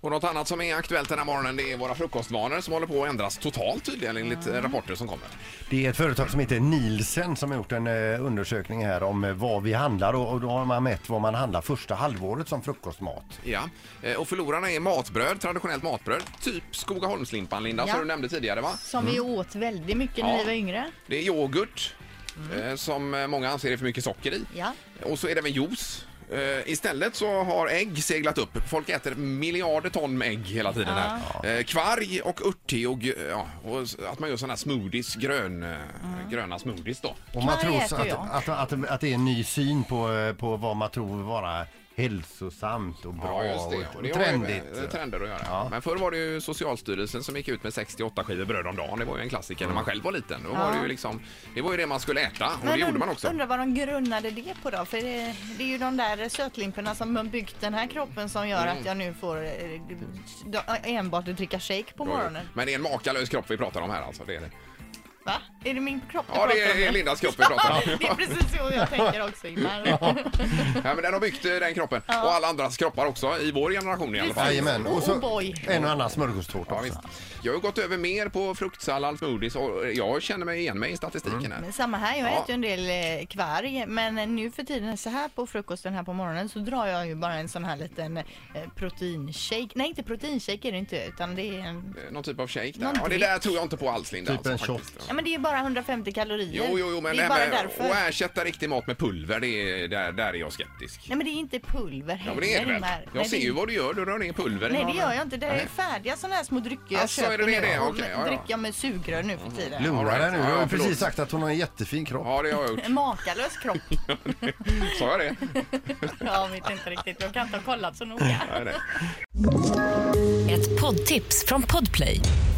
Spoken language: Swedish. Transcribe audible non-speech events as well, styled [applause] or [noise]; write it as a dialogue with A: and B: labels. A: Och något annat som är aktuellt den här morgonen det är våra frukostvanor som håller på att ändras totalt tydligen enligt
B: Mm.
A: eh, rapporter som kommer.
C: Det är ett företag som heter Nielsen som har gjort en eh, undersökning här om eh, vad vi handlar och, och då har man mätt vad man handlar första halvåret som frukostmat.
A: Ja, eh, och förlorarna är matbröd, traditionellt matbröd, typ Skogaholmslimpan Linda
B: Ja.
A: som du nämnde tidigare va?
B: Som vi åt väldigt mycket när
A: Mm. Ja.
B: vi var yngre.
A: Det är yoghurt eh, som eh, många anser är för mycket socker i.
B: Mm. Ja.
A: Och så är det även juice. Eh, istället så har ägg seglat upp. Folk äter miljarder ton med ägg hela tiden här. Eh, kvarg och örtte och, gö- ja, och s- att man gör sådana här smoothies, grön, eh,
B: Mm.
A: gröna smoothies då.
C: Och man
B: Kvarg
C: tror
B: äter
C: att,
B: jag.
C: att, att, att, det är en ny syn på, eh, på vad man tror vara hälsosamt och bra och, och
A: det
C: trendigt.
A: Har ju med eh, trender att göra.
C: Ja.
A: Men förr var det ju Socialstyrelsen som gick ut med 68 skivor bröd om dagen. Det var ju en klassiker
C: Mm.
A: när man själv var liten. Då var det, ju liksom, det var ju det man skulle äta och det gjorde man också.
B: undrar vad de grundade det på då? För det, det är ju de där sötlimporna som har byggt den här kroppen som gör
A: Mm.
B: att jag nu får eh, d- enbart dricka shake på morgonen.
A: Men det är en makalös kropp vi pratar om här alltså. Det
B: [laughs]
A: är det.
B: Va? Är det min kropp du
A: Ja, det
B: pratar om nu?
A: är Lindas kropp vi pratar
B: [laughs]
A: om.
B: det är precis så jag tänker också Ingmar.
A: Ja, men den har byggt eh, den kroppen och alla andras kroppar också i vår generation i alla fall.
B: Precis.
C: Jajamän. Och
B: Oh
C: så
B: boy.
C: en och annan smörgåstårta
A: Ja,
C: också.
A: visst. Jag har ju gått över mer på fruktsallad, smoothies och eh, jag känner mig igen mig i
C: Mm.
A: statistiken här.
B: Men samma här, jag
A: Ja.
B: äter ju en del eh, kvarg men eh, nu för tiden så här på frukosten här på morgonen så drar jag ju bara en sån här liten eh, proteinshake. Nej inte proteinshake är det inte utan det är en...
A: Eh, Någon typ av shake där.
B: Någon
A: Ja, det
B: dryck.
A: där tror jag inte på alls Linda. alltså,
C: Typ en
A: faktiskt.
B: Ja men det är ju bara 150 kalorier.
A: Jo, jo, jo, men
B: det
A: det
B: är
A: här
B: bara
A: med
B: därför.
A: att ersätta riktig mat med pulver, det är, där, där är jag skeptisk.
B: Nej men det är inte pulver
A: Ja, men
B: heller
A: det är det väl?
B: Ingmar. Nej,
A: Jag ser
B: det-
A: ju vad du gör, du rör ner pulver i
B: Nej det
A: magen.
B: gör jag inte, det är
A: Nej.
B: ju färdiga såna här små drycker jag
A: Alltså, är det
B: köper
A: det?
B: nu och
A: Okej, ja, Mm. ja.
B: dricker jag med sugrör nu för tiden.
C: Lugna
A: All right.
C: dig nu. Du har
A: Ja,
C: ju
A: förlåt.
C: precis sagt att hon har en jättefin kropp.
A: Ja, det har jag gjort.
B: En makalös kropp. [laughs]
A: Sa jag det?
B: Jag vet inte riktigt, jag kan inte ha kollat så noga.
A: Nej, nej.
D: Ett poddtips från Podplay.